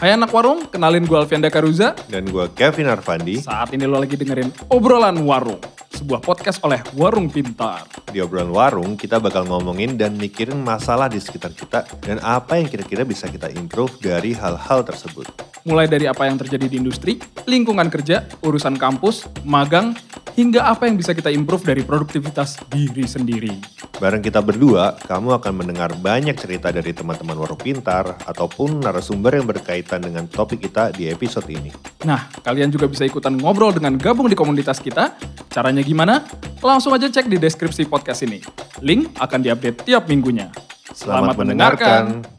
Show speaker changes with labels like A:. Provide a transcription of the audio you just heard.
A: Hai anak warung, kenalin gue Alfianda Karuza.
B: Dan gue Kevin Arfandi
A: Saat ini lo lagi dengerin Obrolan Warung, sebuah podcast oleh Warung Pintar.
B: di obrolan warung kita bakal ngomongin dan mikirin masalah di sekitar kita dan apa yang kira-kira bisa kita improve dari hal-hal tersebut.
A: Mulai dari apa yang terjadi di industri, lingkungan kerja, urusan kampus, magang, hingga apa yang bisa kita improve dari produktivitas diri sendiri.
B: Bareng kita berdua, kamu akan mendengar banyak cerita dari teman-teman warung pintar ataupun narasumber yang berkaitan dengan topik kita di episode ini.
A: Nah, kalian juga bisa ikutan ngobrol dengan gabung di komunitas kita. Caranya gimana? Langsung aja cek di deskripsi podcast ini. Link akan diupdate tiap minggunya.
B: Selamat mendengarkan.